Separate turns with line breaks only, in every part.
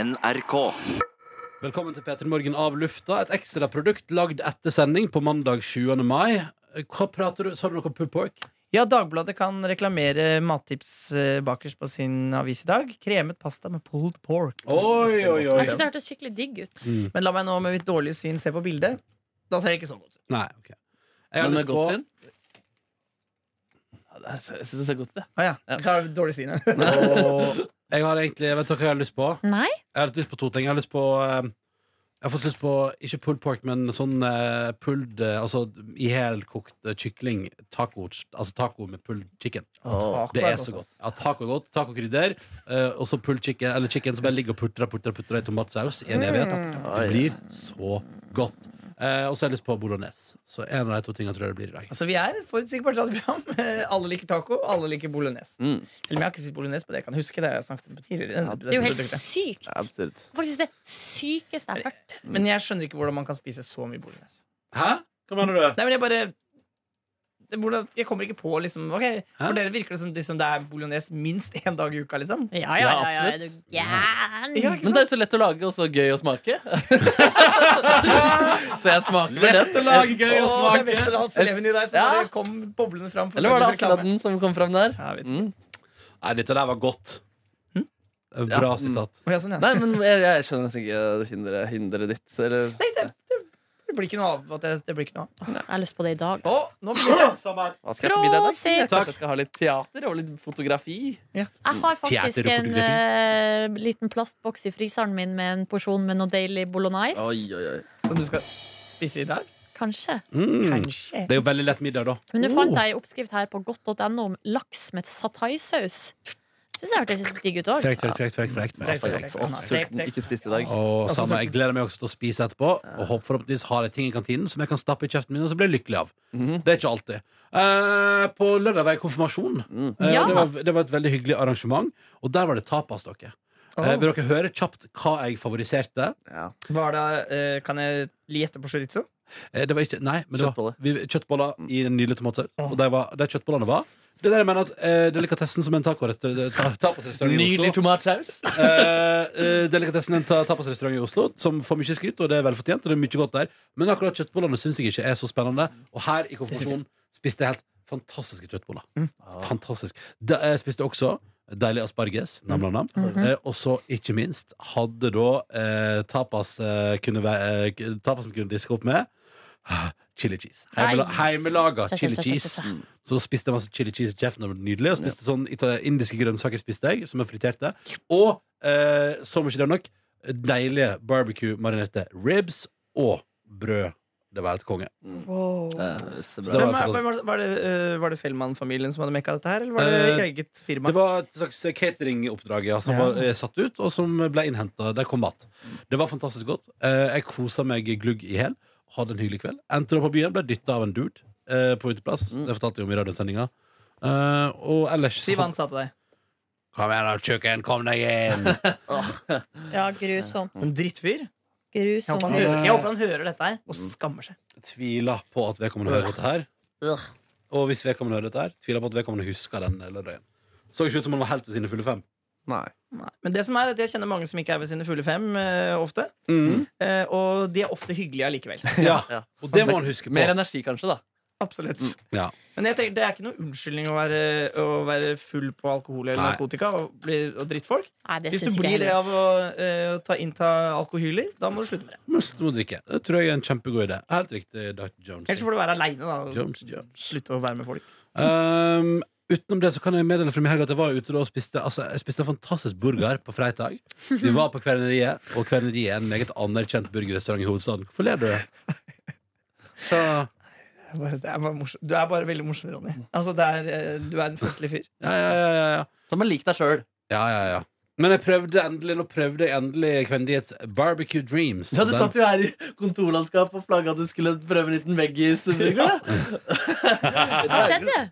NRK.
Velkommen til P3 Morgen av lufta, et ekstra produkt lagd etter sending på mandag 20. mai. Hva prater du? Sa du noe om pulled pork?
Ja, Dagbladet kan reklamere mattips eh, bakerst på sin avis i dag. Kremet pasta med pulled pork.
Oi, oi, oi.
Jeg syns det hørtes skikkelig digg ut.
Men la meg nå med mitt dårlige syn se på bildet. Da ser det ikke sånn ut.
Nei, ok. Jeg har
Men det
lyst
er
på
godt syn. Ja, det er- Jeg syns det ser godt ut, det.
Å ja. Da er det dårlig syn. ja.
og Jeg har egentlig, vet du hva jeg har lyst på?
Nei?
Jeg har litt lyst på to ting. Jeg har lyst på eh, Jeg har fått lyst på ikke pulled pork, men sånn eh, pulled eh, Altså i helkokt eh, kykling. Taco, altså taco med pulled chicken.
Taco
Det
er
er
godt,
så godt.
ass.
Ja, taco er godt. Tacokrydder. eh, og så pulled chicken, eller chicken som bare ligger og putrer putrer, putrer i tomatsaus
Mm.
i en evighet. Det blir så godt. Eh, og så har jeg lyst på bolognese. Så en av de to tingene tror jeg det blir i dag.
Altså, vi er et forutsigbart radioprogram. Eh, Alle liker taco, alle liker bolognese.
Mm.
Selv om jeg har ikke spist bolognese på det jeg kan huske. Det har jeg snakket om tidligere
Ja,
Det er jo helt
Produktet.
sykt.
Ja, Absurd.
Faktisk det sykeste jeg har hørt.
Men jeg skjønner ikke hvordan man kan spise så mye bolognese.
Hæ? Hva mener du?
Nei, men jeg bare det, hvordan, Jeg kommer ikke på liksom ok,
Hæ?
For dere virker det som liksom, det er bolognese minst én dag i uka, liksom.
Ja, ja, ja. ja,
Ja,
Er du
absolutt.
Ja,
gæren?
ikke
Men
sant?
det er jo så lett å lage og så gøy å smake. så jeg smaker
Lett å
den.
lage, gøy å
Åh, det er
smake.
best av alt eleven i deg som
Ja.
bare kom boblende fram. for
Eller var det
reklame.
Askeladden som kom fram der?
Ja, jeg vet ikke.
Mm.
Nei, dette der var godt.
Ja,
Hm? Eh, Bra
mm.
sitat.
Å, ja, sånn, ja.
Nei, men jeg, jeg skjønner nesten ikke hinderet hindre ditt. Eller
Det blir ikke noe av at det, det blir ikke noe av.
Jeg har lyst på det i dag.
Å, nå blir det
hva skal jeg ha til middag? i dag?
Prosit!
Jeg
Takk.
kanskje skal ha litt teater og litt fotografi.
Jeg har faktisk
Teater og
en
fotografi.
eh, liten plastboks i fryseren min med en porsjon med noe deilig bolognese.
Oi, oi, oi.
Som du skal spise i dag?
Kanskje.
Mm.
Kanskje.
Det er jo veldig lett middag, da.
Men nå
Oh.
fant jeg en oppskrift her på godt.no om laks med sataisaus. Syns jeg hørtes litt digg ut òg.
Frekt, frekt, frekt. frekt, frekt,
Frekt,
frekt,
frekt,
frekt.
frekt.
Så sulten. Ikke spist i dag.
Og samme, Jeg gleder meg også til å spise etterpå, og håper forhåpentligvis har jeg ting i kantinen som jeg kan stappe i kjeften min og så blir jeg lykkelig av. Det er ikke alltid. Eh, på lørdag var jeg i konfirmasjon. Eh,
Ja.
det, var, det var et veldig hyggelig arrangement, og der var det tapas, dere. Eh, vil dere høre kjapt hva jeg favoriserte?
Ja.
Var det, eh, kan jeg gjette på chorizo?
Eh, det var ikke, nei, men det var
Kjøttboller.
vi, kjøttboller i en nydelig tomatsaus. Og de, var, de kjøttbollene var Det er der jeg mener at eh, delikatessen som en tacorestaurant ta, tapasrestaurant i Oslo-
Nydelig tomatsaus.
Eh, eh, delikatessen en ta- tapasrestaurant i Oslo som får mye skryt, og det er velfortjent. Og det er mye godt der Men akkurat kjøttbollene syns jeg ikke er så spennende. Og her i konfirmasjonen spiste jeg helt fantastiske kjøttboller. Fantastisk. Da, eh, jeg spiste også deilig asparges. Nam, nam, nam. Eh, og så, ikke minst, hadde da eh, tapas eh, kunne være, eh, k- tapasen kunne diske opp med ah, Chili cheese. Heimela,
Nei.
heimelaga
Tja, tja,
chili
tja, tja,
cheese.
tja, tja.
Så da spiste jeg masse chili cheese og kjeften. Det var nydelig. Og spiste sånn ita- indiske grønnsaker spiste jeg, som jeg friterte. Og eh, som ikke det var nok, deilige barbecue-marinerte ribs og brød. Det var helt konge.
Eh, så
Det var
bra.
sånn-
Hvem,
fantastisk.
er- hvem er- var det, eh, var det Fellmann-familien som hadde mekka dette her, eller var det
Eh,
eget firma?
Det var et slags cateringoppdrag ja, som
Ja.
var eh, satt ut, og som ble innhenta. Der kom mat. Det var fantastisk godt. Eh, jeg kosa meg glugg i hæl. Hadde en hyggelig kveld. Endte opp på byen, ble dytta av en dude eh, på uteplass. Det fortalte jeg om i radiosendinga. Eh, og ellers
Si hva han sa til deg.
Kom igjen, da, kjøkken, kom deg inn!
Ja, grusomt.
En drittfyr?
Mm.
Jeg håper,
Grusomt.
han hører, jeg håper han hører dette her og skammer seg.
tviler på at vedkommende hører dette her. Og hvis vedkommende hører dette her, tviler på at vedkommende husker den lørdagen. Så ikke ut som han var helt ved sine fulle fem.
Nei.
Nei. Men det som er at jeg kjenner mange som ikke er ved sine fulle fem eh, ofte.
Mm.
eh, og de er ofte hyggelige allikevel.
Ja.
Ja.
Og det må han huske på.
Mer energi, kanskje, da.
Absolutt.
Ja.
Men jeg tenker, det er ikke noen unnskyldning å være, å være full på alkohol eller
Nei.
narkotika og, bli, og drittfolk.
Nei, det
Hvis
syns
du
ikke
blir
jeg
det av
heller.
å eh, ta, innta alkohyler, da må du slutte med det.
Men slutt med å drikke. Det tror jeg er en kjempegod idé. Helt riktig, Dr. Jones.
Ellers får du være aleine, da. og
Jones, Jones.
Slutte å være med folk.
Um, utenom det så kan jeg meddele fra min helg at jeg var ute da og spiste Altså, jeg spiste en fantastisk burger på fredag. Vi var på Kverneriet, og Kverneriet er en meget anerkjent burgerrestaurant i hovedstaden. Hvorfor ler du? Så,
Det er bare, det er bare morsom- du er bare veldig morsom, Ronny. Altså, det er, eh, du er en festlig fyr.
ja, ja, ja, ja, ja.
Så man liker deg sjøl.
Ja, ja, ja men jeg prøvde endelig nå prøvde jeg endelig Kvendighets Barbecue Dreams.
Ja, du
Den-
satt jo her i kontorlandskap og flagga at du skulle prøve en liten veggisburger.
Hva skjedde?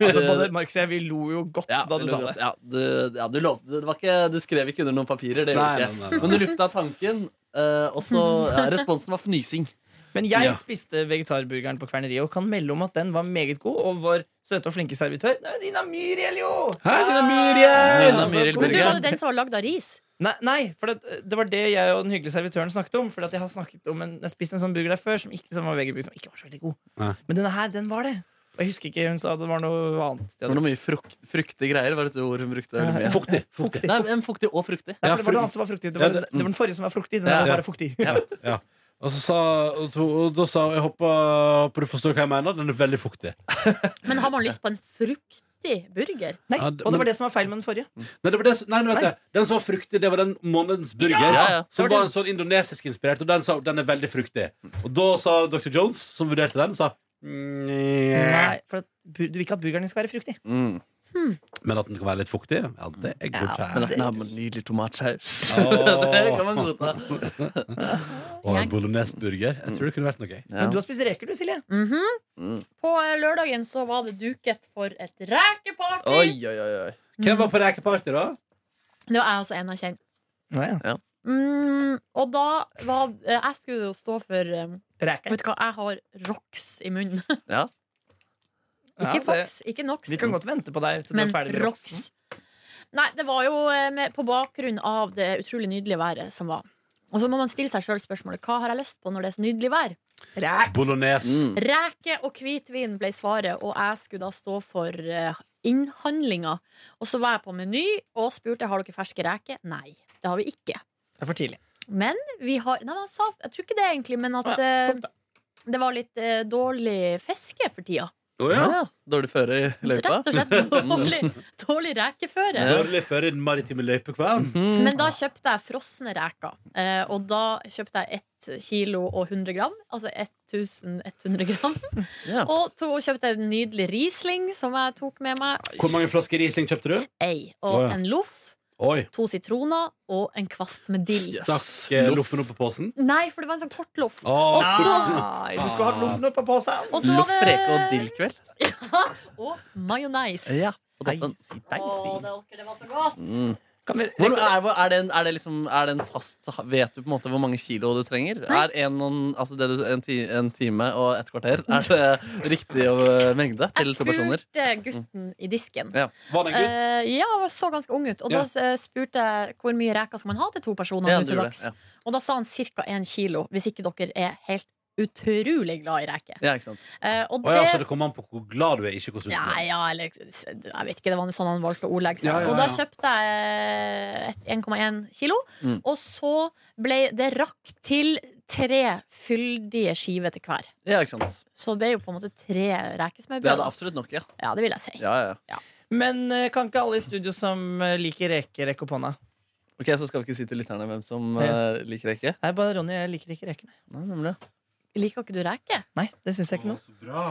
Altså, både Markus og jeg, vi lo jo godt
Ja,
da du sa det.
Ja, du, ja, du lovte det. Var ikke, du skrev ikke under noen papirer,
Nei,
det gjorde du
nei,
ikke.
nei, nei.
Men du lufta tanken, eh, og så ja, responsen var fnysing.
Men jeg
Ja.
spiste vegetarburgeren på Kverneriet og kan melde om at den var meget god. Og vår søte og flinke servitør Nei, Nina Myriel, jo!
Ah!
Hei, Nina Myriel!
Nina
altså,
Myriel
Men du
Burger.
var jo den som var lagd av ris.
Nei, nei for det, det var det jeg og den hyggelige servitøren snakket om. Fordi at Jeg har snakket om en, jeg spiste en sånn burger der før som ikke, som var vegeburger, som ikke var så veldig god.
Nei.
Men denne her, den var det. Og jeg husker ikke, Hun sa det var noe annet. De
Det var
hadde.
noe mye frukt, fruktig greier, var et ord hun brukte veldig mye.
Fuktig. fuktig.
Nei, men fuktig og fruktig.
Nei,
Ja,
for
frukt.
det var den som var fruktig. Det var,
Ja,
det, var den forrige som var fruktig. Den
Ja,
her
ja.
var bare fuktig.
Ja.
Ja. Og, så sa, og, to, og da sa hun, jeg håper, håper du forstår hva jeg mener. Den er veldig fuktig.
Men har man lyst på en fruktig burger?
Nei,
Ja,
og
det-
det
men-
var det som var feil med den forrige.
Nei, det var det, som- nei, nei, vet
Nei.
jeg. Den som var fruktig, det var den månedens burger.
Ja, ja.
Som
Det var
var en sånn indonesisk inspirert, og den sa den er veldig fruktig. Og da sa dr. Jones, som vurderte den, sa
Nei,
Nei.
for at, bu- Du vil ikke at burgeren din skal være fruktig.
Mm.
Men at den kan være litt fuktig, ja, det er good
Ja,
Men
child.
at den har med nydelig tomatsaus.
Åh.
det kan man godta.
Og en bolognesburger. Jeg tror det kunne vært noe. gøy.
Ja.
Men du har spist reker, du, Silje.
Mhm.
Mm.
På eh, lørdagen så var det duket for et rekeparty.
Oi, oi, oi. oi.
Hvem var på rekeparty, da?
Det var jeg også en av kjent.
Nei, ja.
Mm, og da var eh, Jeg skulle jo stå for eh,
Reker.
Vet du hva, jeg har Rox i munnen.
Ja.
Ja,
Ikke
det-
Fox, ikke Nox.
Vi kan godt vente på deg. til du er
Men
ferdig med roksen.
Rox. Nei, det var jo eh, med, på bakgrunn av det utrolig nydelige været som var. Og så må man stille seg sjøl spørsmålet hva har jeg lyst på når det er så nydelig vær.
Ræk.
Bolognese.
Mm.
Reke og hvitvin ble svaret, og jeg skulle da stå for eh, innhandlinga. Og så var jeg på Meny og spurte har dere ferske reker. Nei, det har vi ikke.
Det er for tidlig.
Men vi har Nei, men han sa Jeg tror ikke det, egentlig, men at
Å
eh,
ja, tomt, da.
det var litt eh, dårlig fiske for tida.
Å ja.
Dårlig føre i løypa.
Rett og slett dårlig, dårlig rekeføre.
Dårlig før i den maritime løypekvelden.
Mm.
Men da kjøpte jeg frosne reker. Eh, og da kjøpte jeg ett kilo og 100 gram. Altså 1100 gram.
Ja.
Og to, kjøpte jeg en nydelig Riesling som jeg tok med meg.
Hvor mange flasker Riesling kjøpte du?
Ei. Og
Å, ja.
en loff,
Oi.
to sitroner og en kvast med dill.
Yes.
Stakk eh, loffen opp på posen?
Nei, for det var en sånn kort loff.
Å,
Og så-
Nei, du skulle hatt loffen opp på seg.
Og så var
Loff, reke og
det
dillkveld.
Og majones.
Ja, på
Nei,
toppen.
si-
Å,
nei, si.
dere, det var så godt.
Mm.
Kan vi-
Hvor, er, hvor- er, det en, er, det liksom, er det en fast Vet du på en måte hvor mange kilo du trenger? Er en, og en- altså det du, en, ti, en time og et kvarter Er det riktig eh, mengde til
Jeg
to personer?
spurte gutten i disken.
Ja.
Var det en gutt?
Eh, ja, han så ganske ung ut. Og da eh, spurte jeg hvor mye reker skal man ha til to personer.
Ja,
nå
du
til
gjorde
dags.
det. Ja.
Og da sa han ca. 1 kilo, hvis ikke dere er helt utrolig glad i reker.
ja, ikke sant.
Eh, og
Å ja, så
det
det kommer an på hvor glad du er, ikke hvor sulten
ja,
du er.
ja, eller Jeg vet ikke, det var noe sånn han valgte å ordlegge seg.
Ja, ja,
Og da
ja.
kjøpte jeg et 1,1 kilo,
Mm.
og så ble det rakk til tre fyldige skiver til hver.
Ja, ikke sant.
Så det er jo på en måte tre
Det
rekesmørbrød.
hadde
da.
absolutt nok, ja.
Ja, det vil jeg si.
ja, ja, ja.
Men eh, kan ikke alle i studio som eh, liker reker, rekke opp hånda?
Ok, Så skal vi ikke si til lytterne hvem som eh, liker reke?
Nei, bare Ronny, jeg liker ikke reker. nei.
Nei, nemlig.
Liker ikke du reker?
Nei, det syns jeg ikke noe.
så bra.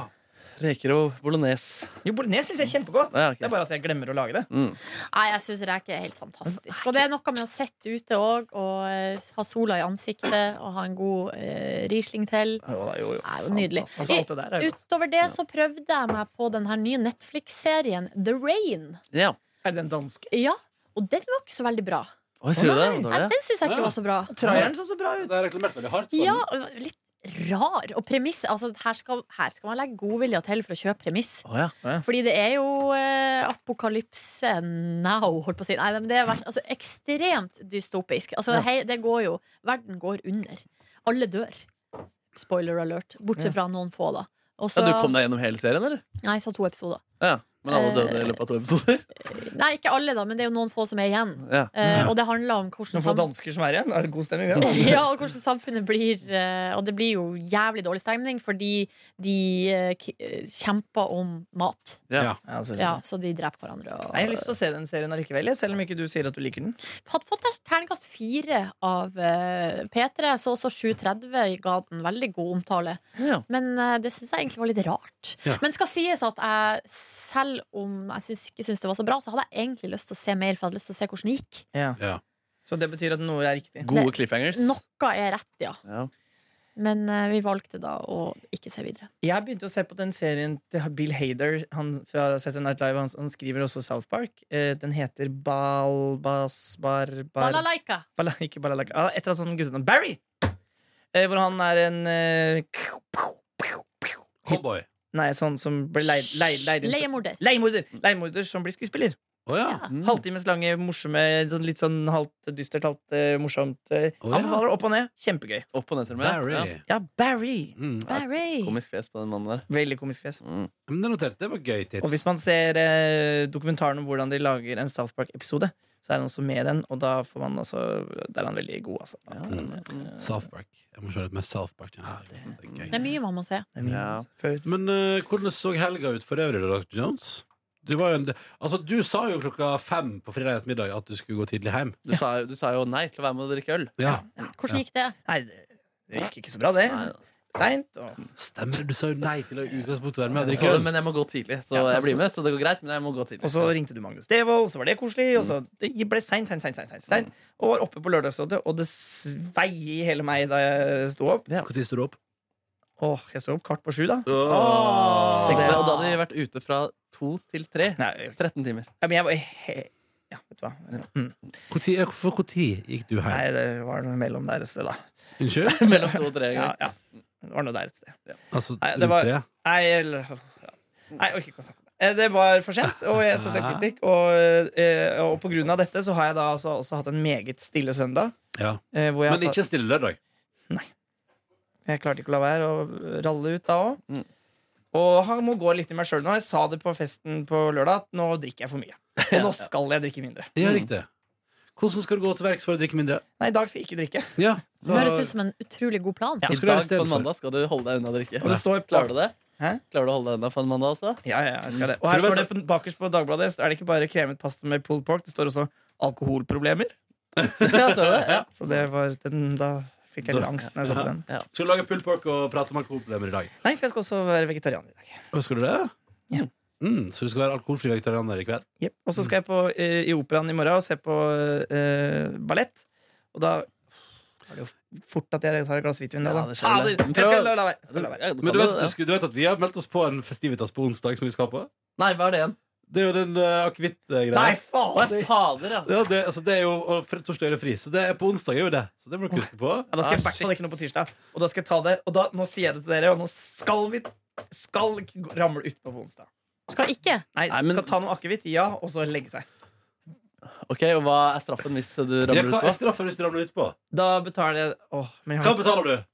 Reker og bolognese.
Jo, bolognese syns jeg er kjempegodt.
Ja, ok.
Det er bare at jeg glemmer å lage det.
Mm.
Nei, jeg syns reker er helt fantastisk. Og det er noe med å sitte ute òg, og eh, ha sola i ansiktet, og ha en god eh, Riesling til.
Jo, da, jo, jo.
Det er jo nydelig. Eh,
Altså, alt det der er, jo godt.
Utover det så prøvde jeg meg på den her nye Netflix-serien The Rain.
Ja.
er det den danske?
Ja, Og den var ikke så veldig bra.
Oi, sier du det?
Nei,
Dårlig, ja.
den syns jeg ikke var så bra.
Traieren så så bra ut.
Det er reklamert veldig hardt. for
Ja,
den.
Litt rar. Og premiss altså, her, skal, her skal man legge godvilje til for å kjøpe premiss.
Å, ja.
Fordi det er jo eh, apokalypse now, holdt på å si. Nei, men det har vært altså, ekstremt dystopisk. Altså,
Ja.
hei, det går jo Verden går under. Alle dør. Spoiler alert. Bortsett fra noen få, da. Og
ja,
så-
Du kom deg gjennom hele serien, eller?
Nei, så to episoder.
Ja. Men alle døde i løpet av to episoder?
Nei, ikke alle, da, men det er jo noen få som er igjen.
Ja.
Eh, og det handler om hvordan,
Noen få
sam-
dansker som er igjen. Er det god stemning, det? da?
ja, og hvordan samfunnet blir eh, Og det blir jo jævlig dårlig stemning fordi de eh, k- eh, kjemper om mat.
Ja.
Ja.
Ja, selvfølgelig.
Ja, så de dreper hverandre. Og,
Nei, Jeg har lyst til å se den serien allikevel, jeg, selv om ikke du sier at du liker den.
Hadde fått der terningkast fire av eh, P3. Så også 7.30 ga den veldig god omtale.
Ja.
Men eh, det syns jeg egentlig var litt rart.
Ja.
Men skal sies at jeg, selv om jeg syns, ikke syns det var så bra, så hadde jeg egentlig lyst til å se mer, for jeg hadde lyst til å se hvordan det gikk.
Ja.
Så det betyr at noe er riktig.
Gode cliffhangers.
Noe er rett, ja.
Ja.
Men eh, vi valgte da å ikke se videre.
Jeg begynte å se på den serien til Bill Hader han fra Saturday Night Live. Han, han skriver også South Park. Eh, den heter Balbas... Bar... bar
Balalaika!
Bala, ikke Balalaka. Ah, et eller annet sånt guttenavn. Barry! Eh, hvor han er en eh,
Cowboy.
Nei, sånn som ble leid, leid, leid inn-
Leiemorder.
Leiemorder! Leiemorder som blir skuespiller.
Å ja.
Mm.
Halvtimes lange, morsomme, sånn litt sånn halvt dystert, halvt eh, morsomt. eh.
Å, ja.
Anbefaler opp og ned. Kjempegøy.
Opp og ned til og med.
Barry.
Ja.
Ja, Barry!
Mm.
Barry.
Komisk fjes på den mannen der.
Veldig komisk fjes.
Mm.
Men det noterte Det var gøy
Og
tips.
hvis man ser eh, dokumentaren om hvordan de lager en South Park-episode, så er han også med i den, og da får man også Der er han veldig god, altså.
Ja. Mm.
Eh,
South Park. Jeg må kjøre litt mer South Park. Ja, det er
Det
gøy.
er mye man må se.
det er mye
Ja.
før.
Men eh, hvordan så helga ut for øvrig, da, Dr. Jones? Du, var jo en, altså, du sa jo klokka fem på fredag ettermiddag at du skulle gå tidlig hjem.
Du, sa, jo- du sa jo nei til å være med og drikke øl.
Ja.
Hvordan gikk det?
Nei, det det gikk ikke så bra, det. Seint. Og
Stemmer det. Du sa jo nei til å i utgangspunktet være med og
Jeg
drikke
sa,
øl.
Altså, men jeg må gå tidlig, så
Ja,
jeg
altså-
blir med. Så det går greit, men jeg må gå tidlig.
Og så ringte du Magnus Devold, så var det koselig. Og så det ble seint, seint, seint. seint, seint, seint. Og var oppe på Lørdagsrådet, og det svei i hele meg da jeg sto opp.
Når står du opp?
Åh, jeg sto opp kvart på sju, da.
Åh.
Tenk deg, og da hadde vi vært ute fra to til tre.
Nei,
13 timer.
ja, men jeg var he Ja, vet du hva. Mm.
Hvor tid- ja, For når gikk du
Nei,
hjem?
det var noe mellom der et sted, da.
Unnskyld?
Mellom to og tre
Ja,
ganger.
ja. Det var noe der et sted.
Altså
Nei, det
rundt
var-
tre?
Nei, eller ja. Nei, jeg orker ikke å snakke om det. Eh, Det var for sent, og jeg tar selvkritikk. Og, eh, og på grunn av dette så har jeg da altså også hatt en meget stille søndag.
Ja.
eh, Hvor
Men
jeg, har tatt-
ikke stille lørdag.
jeg klarte ikke å la være å ralle ut da òg.
Mm.
Og han må gå litt i meg sjøl nå. Jeg sa det på festen på lørdag at nå drikker jeg for mye. Og nå skal jeg drikke mindre.
Ja, riktig. Hvordan skal du gå til verks for å drikke mindre?
Nei, i dag skal jeg ikke drikke.
Ja.
Det høres ut som en utrolig god plan.
Ja.
I
Skal du
dag
gjøre i stedet
på en
for?
mandag skal du holde deg unna å drikke.
Og det står
Klarer du det?
Hæ?
Klarer du å holde deg unna på en mandag også?
Ja, ja, jeg skal det. Og
For
her
du vet-
står det på, bakerst på Dagbladet så er det ikke bare kremet pasta med pulled pork. Det står også alkoholproblemer.
ja, så er det, ja.
Så det var den, da fikk jeg litt angst når jeg så på den.
Skal du lage pulled pork og prate om alkoholproblemer i dag?
Nei, for jeg skal også være vegetarianer i dag.
Å, Skal du det?
Ja.
Mm, så du skal være alkoholfri vegetarianer i kveld?
Jep. Og
Mm.
så skal jeg på, eh, i operaen i morgen og se på eh, ballett. Og da er det jo fort at jeg tar et glass hvitvin. da,
Ja,
da.
det skjer det.
Fader, Jeg skal la la være. Jeg skal la være.
Ja, du kan
Men du
det,
vet,
ja.
du, skulle- du vet at vi har meldt oss på en festivitas på onsdag som vi skal på?
Nei, hva er det igjen?
Det er jo den uh,
Nei,
akevittgreia.
Å, jeg
fader!
fader, ja.
Ja, det, altså, det er jo og fr- torsdag er det fri, så det er på onsdag er jo det. Så det må du huske på.
Ja, da skal jeg i
Ah,
hvert fall ikke noe på tirsdag. Og da skal jeg ta det, og da, nå sier jeg det til dere, og nå skal vi skal ikke gå- ramle utpå på onsdag.
Skal ikke?
Nei,
Nei, men-
skal ta noe akevitt, ja, og så legge seg.
Ok, Og hva er straffen hvis du
Ja,
ramler
hva
ut
er
på?
straffen hvis du ramler utpå?
Da betaler jeg Åh, men jeg
Hva
har
betaler du?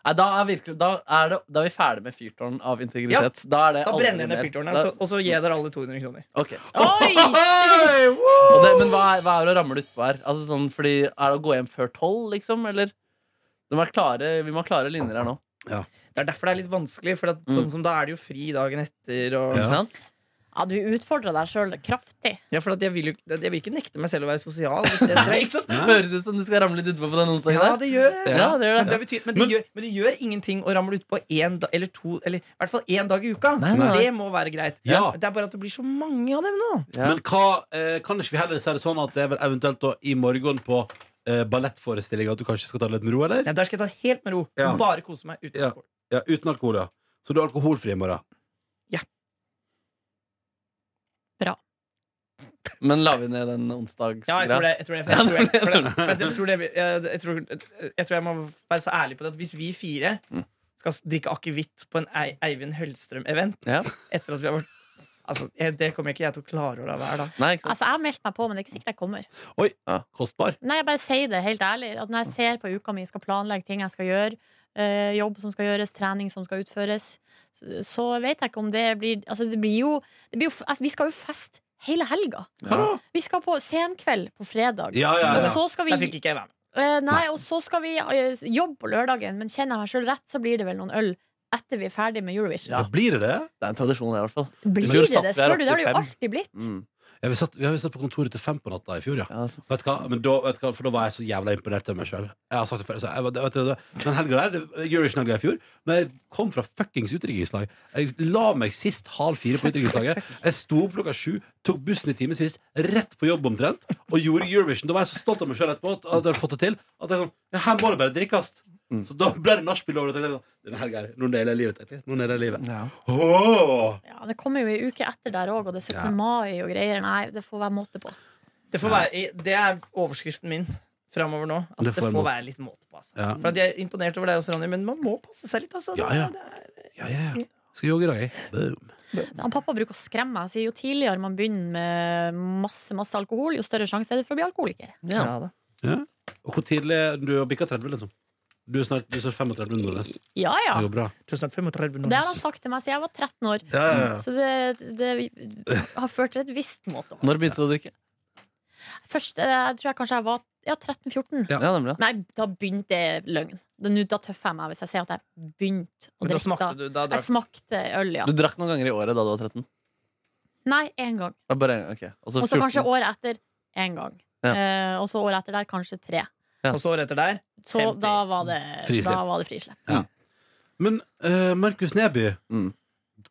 Nei, da, er virkelig, da, er det, da er vi ferdig med fyrtårn av integritet. Da, er det
da
aldri
brenner jeg ned
mer.
fyrtårnet,
Da-
så- og så gir jeg dere alle 200 kroner.
ok.
Oi, shit!
Og det, men hva er, hva er å ramle utpå her? Altså, sånn, fordi, er det å gå hjem før tolv, liksom? Eller? Det må være klare, vi må ha klare linjer her nå.
Det er derfor det er litt vanskelig, for
Mm.
at, sånn som da er det jo fri dagen etter. Og,
Ikke
Ja.
sant?
Ja, du utfordrer deg sjøl kraftig.
Ja, for at jeg, vil jo, jeg vil ikke nekte meg selv å være sosial. Hvis det er greit.
Ikke sant? Høres ut som du skal ramle litt utpå på den onsdagen
ja,
der.
det gjør jeg.
Ja, det gjør
Men
det.
det betyr, men, det gjør, men det gjør ingenting å ramle utpå én da, eller to, eller i hvert fall én dag i uka.
Nei, nei, nei.
Det må være greit.
Ja.
Det er bare at det blir så mange av dem nå.
Ja.
Men hva, eh, kan ikke vi heller si det sånn at det er vel eventuelt da i morgen på eh, ballettforestillinga at du kanskje skal ta det litt med ro, eller?
Nei, der skal jeg ta det helt med ro.
Ja.
Bare kose meg uten
Ja.
alkohol.
Ja, uten alkohol, ja. Så du er alkoholfri i morgen?
Men la vi ned den
Ja, jeg tror
onsdagsgreia?
det. Jeg tror det, for jeg tror jeg- for det- for jeg tror det vi- jeg- jeg tror- jeg tror jeg må være så ærlig på det at hvis vi fire
Mm.
skal drikke akevitt på en Ei- Eivind Høllstrøm-event
Ja.
etter at vi har vært Altså, jeg, Det kommer jeg ikke jeg til å klare å la være, da.
Nei, ikke sant?
Altså, Jeg har meldt meg på, men det er ikke sikkert jeg kommer.
Kostbar?
Nei, jeg bare sier det helt ærlig. At når jeg ser på uka mi, skal planlegge ting jeg skal gjøre, eh, jobb som skal gjøres, trening som skal utføres, så, så vet jeg ikke om det blir Altså, det blir jo, det blir jo f- altså, Vi skal jo feste hele helga.
Hva da?
Vi skal på senkveld på fredag.
Ja, ja,
Og
ja.
så skal
Der fikk
vi
ikke jeg være med.
Eh, nei, og så skal vi eh, jobbe på lørdagen, men kjenner jeg meg sjøl rett, så blir det vel noen øl etter vi er ferdig med Eurovision.
Ja, Blir det det?
Det er en tradisjon, i hvert fall.
Blir
I fjor
det
satt
det,
vi her
spør du? Det har det jo
oppe i fem.
alltid blitt.
Mm.
Ja, vi, satt, vi har jo satt på kontoret til fem på natta i fjor, ja.
Ja, altså.
Vet du hva? Men da, vet du hva? For da var jeg så jævla imponert over meg sjøl. Jeg har sagt det før. Så jeg, var- vet du, det- den helga der, det- Eurovision-helga i fjfjor, når jeg kom fra fuckings utdrikningslag Jeg la meg sist halv fire på utdrikningslaget. Jeg sto opp klokka sju, tok bussen i timevis, rett på jobb omtrent, og gjorde Eurovision. Da var jeg så stolt av meg sjøl etterpå at at jeg hadde fått det til. At jeg sånn Ja, her må det bare drikkes. Så da ble det nachspiel over. Og jeg tenkte, sånn, Denne helga her, nå nailer jeg livet. tenkte jeg. Nå nailer jeg livet.
Ja.
Åh!
Ja, Det kommer jo ei uke etter der òg, og det er 17.
Ja.
mai og greier. Nei, det får være måte på.
Det, får være, det er overskriften min framover nå. At det får,
må-
være litt måte på. Altså.
Ja.
For at jeg er imponert over deg også, Ronny, men man må passe seg litt. Altså.
Ja, ja.
Det er-
Ja, ja, ja. Skal jogge i dag, jeg. Boom.
Han pappa bruker å skremme meg og sier jo tidligere man begynner med masse masse alkohol, jo større sjanse er det for å bli alkoholiker.
Ja.
Ja, da.
Og hvor tidlig Du har bikka 30, liksom. Du er snart, du er snart 35 under det.
Ja, ja.
Det går bra.
Tusen takk, 35
Det altså- Mm. har han sagt til meg siden jeg var 13 år.
Ja, ja, ja.
Så det, det har ført til et visst måte.
Når begynte du å drikke?
Først eh, jeg tror jeg kanskje jeg var ja, 13-14.
Ja.
Ja, nemlig.
Nei, da begynte jeg løgn. Da, nå- da tøffer jeg meg hvis jeg sier at jeg begynte å
Men da
drikke.
smakte
da.
du da
Jeg
drakk.
smakte øl, ja.
Du drakk noen ganger i året da du var 13?
Nei, én gang.
Ja, Bare en, ok. Og så
Og så
14.
kanskje året etter én gang.
Ja.
Eh, og så året etter der kanskje tre.
Ja.
Og så året etter der
Så
50.
da var det
Frislipp.
da var det frislipp.
Men eh, Markus Neby,
Mm.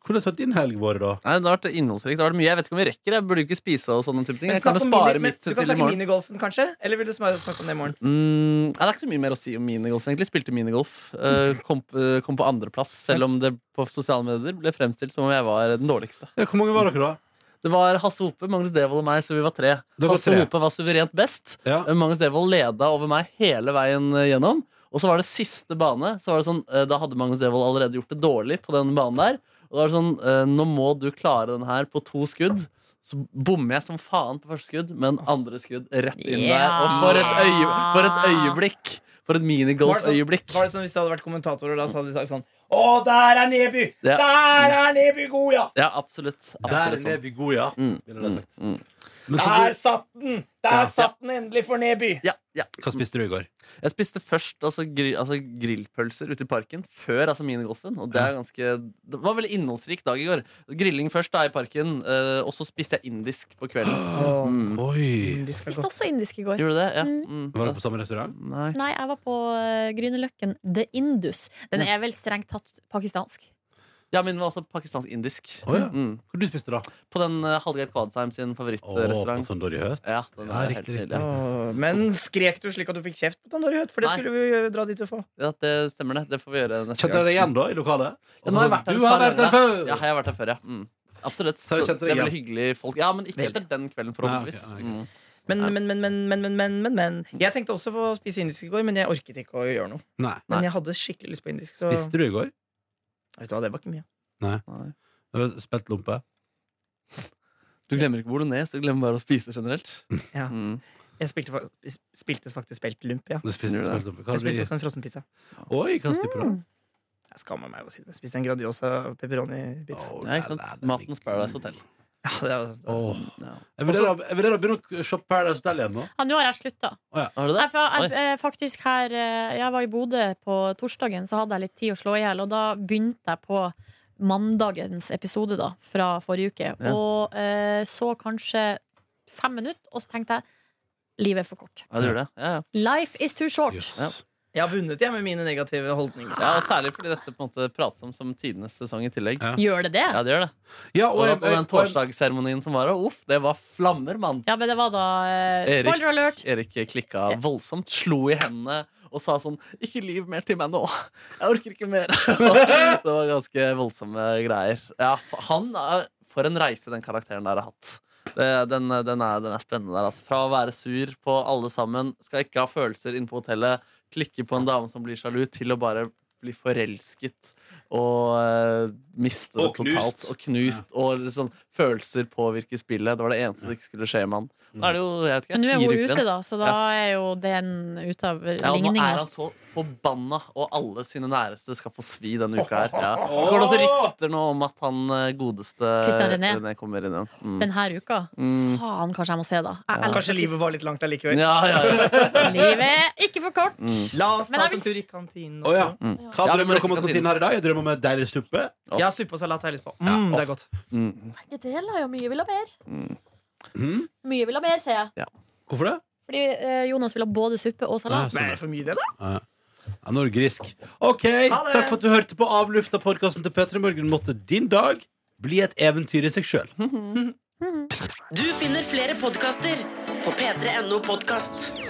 hvordan har din helg vært, da?
Nei, det har vært innholdsrikt. Det har vært mye. Jeg vet ikke om vi rekker det. Jeg burde jo ikke spise og sånne type ting.
Men
Jeg kan
snakk
jo
om
spare
mini- men
mitt
Du kan
til i
snakke
morgen.
minigolfen, kanskje? Eller vil du sma- snakke om det i morgen?
Mm, nei, det er ikke så mye mer å si om minigolf, egentlig. Spilte minigolf. eh, kom, eh, kom på andreplass, selv om det på sosiale medier ble fremstilt som om jeg var den dårligste.
Ja, hvor mange var dere, da?
Det var Hasse Hope, Magnus Devold og meg, så vi var tre.
Det var
Hasse
tre.
Hope var suverent best.
Ja.
Eh, Magnus Devold leda over meg hele veien eh, gjennom. Og så var det siste bane. Så var det sånn, eh, da hadde Magnus Devold allerede gjort det dårlig på den banen der. Og da var det sånn, eh, nå må du klare den her på to skudd. Så bommer jeg som faen på første skudd, men andre skudd rett inn der.
Ja.
Og for et, øye, for et øyeblikk! For et minigolføyeblikk.
Var det sånn Hvis det hadde vært kommentatorer, da så hadde de sagt sånn Å, der er Neby!
Ja.
Der er Neby god, ja!
Ja, absolutt.
Der
absolutt
er
sånn.
Neby god, ja.
Mm,
Ville jeg sagt.
mm, mm.
Men så
Der
du,
satt den!
Ja.
Der satt den endelig for Neby!
Ja, ja.
hva spiste du i går?
Jeg spiste først altså, gri, altså, grillpølser ute i parken før altså, minigolfen. Og det, er ganske, det var veldig innholdsrik dag i går. Grilling først da i parken, eh, og så spiste jeg indisk på kvelden. Mm.
Oi!
De skal
Spiste
gå.
også indisk i går.
Gjorde du det? Ja.
Mm.
Mm.
Var dere på samme restaurant?
Nei.
Nei, jeg var på eh, Grünerløkken The Indus. Den er vel strengt tatt pakistansk.
Ja, min var også pakistansk-indisk.
Å, ja.
mm.
Hvor du spiste da?
På den uh, Hallgeir Kvadsheim sin
Å, på
favorittrestaurant.
sånn Dorry Høt?
Ja, den er helt
riktig,
nydelig.
riktig.
Åh, Men skrek du slik at du fikk kjeft på Tandori Høt? For det
Nei.
skulle vi jo dra dit og få.
Ja, det stemmer, det. Det får vi gjøre neste
Kjente dere
gang.
deg igjen da, i lokalet?
Ja, nå har jeg vært her
du har
et par
vært der
ganger,
før!
Ja, jeg har vært her før, ja. Mm. Absolutt.
Så
Så
jeg
det
kjente deg
er veldig
igjen.
hyggelig folk. Ja, men ikke
Veldig.
etter den kvelden,
Nei, ok,
forhåpentligvis.
nei, ok.
Mm.
Men, men, men, men, men, men, men, men, men. Jeg tenkte også på å spise indisk i går, men jeg orket ikke å gjøre noe.
Nei.
Nei.
Men jeg hadde skikkelig lyst på indisk. Så Vet
Spiste du i går?
du hva, det var ikke mye.
Nei.
Spelt lompe?
Du glemmer ikke bolognese, du glemmer bare å spise generelt.
Ja.
Mm.
Jeg spilte, fa- sp- spilte faktisk spelt lump, ja.
Du spiste
Gjorde det.
spelt lompe. Hva
Jeg
har du
spiste
i?
også en frossenpizza.
Oi, hva slags type da?
Jeg skammer meg over å si det. Jeg spiste en Grandiosa pepperoni-pizza.
Å,
Ja, ikke sant?
nei, nei, det blir
Matens Paradise Hotel.
Ja, det var-
Åh.
Ja.
Jeg vurderer å- jeg vurderer å begynne å shoppe Paradise Hotel igjen nå.
Ja, nå har jeg slutta.
Har du det?
Jeg, jeg, jeg, faktisk her, eh, jeg var i Bodø på torsdagen, så hadde jeg litt tid å slå i hjel. Og da begynte jeg på mandagens episode da, fra forrige uke.
Ja.
Og eh, så kanskje fem minutter, og så tenkte jeg livet er for kort.
Ja, du gjør det. Ja, ja.
Life is too short.
Jøss.
Jeg har vunnet, jeg, med mine negative holdninger.
ja, og Særlig fordi dette på en måte prates om som tidenes sesong i tillegg.
Ja.
Gjør det det?
Ja, det gjør det.
Ja,
Og,
og,
at- og den torsdagsseremonien som var her, uff, det var flammer, mann!
Ja, men det var da eh,
Erik.
Spoiler alert!
Erik klikka voldsomt, slo i hendene og sa sånn 'Ikke lyv mer til meg nå! Jeg orker ikke mer!' det var ganske voldsomme greier. Ja, fa- han er For en reise den karakteren der har hatt. Det, den, den, er, den er spennende der. Altså. Fra å være sur på alle sammen, skal ikke ha følelser inne på hotellet, klikke på en dame som blir sjalu, til å bare bli forelsket og eh, miste det
Og knust.
totalt. Og knust. Og liksom, følelser påvirker spillet. Det var det eneste som ikke skulle skje med han. Nå er det jo, jeg vet ikke,
Men nå er
fire
hun
uker igjen.
ute, da, så da er jo den ute av
Ja, og nå er
ligninga.
han så forbanna, og alle sine næreste skal få svi denne uka her. Ja. Så går det også rykter nå om at han eh, godeste
Christian René.
kommer inn igjen. Mm.
Denne uka?
Mm.
Faen, kanskje jeg må se, da. Jeg
Kanskje
elsker
livet var litt langt allikevel.
Ja, ja, ja.
Livet er ikke for kort!
La oss
Men
ta
jeg
oss en
vil-
tur i kantinen.
Å, ja.
også.
Mm.
Hva
Ja,
drømmer dere
vi må
om å
rekke
komme til her i dag? Jeg drømmer om en deilig suppe.
Ja, suppe og salat har jeg lyst på. Mm, det er godt.
Mm.
Begge deler, jo. Mye vil ha mer.
Mm.
Mye vil ha mer, sier jeg.
Hvorfor det?
Fordi eh, Jonas vil ha både suppe og
Ah,
Men er
salat.
sånn,
det for mye, det, da?
Ja, nå er du grisk. OK,
Ha det.
takk for at du hørte på Avlufta podkasten til P3 Morgen. Måtte din dag bli et eventyr i seg sjøl.
Du finner flere podkaster på p3.no podkast.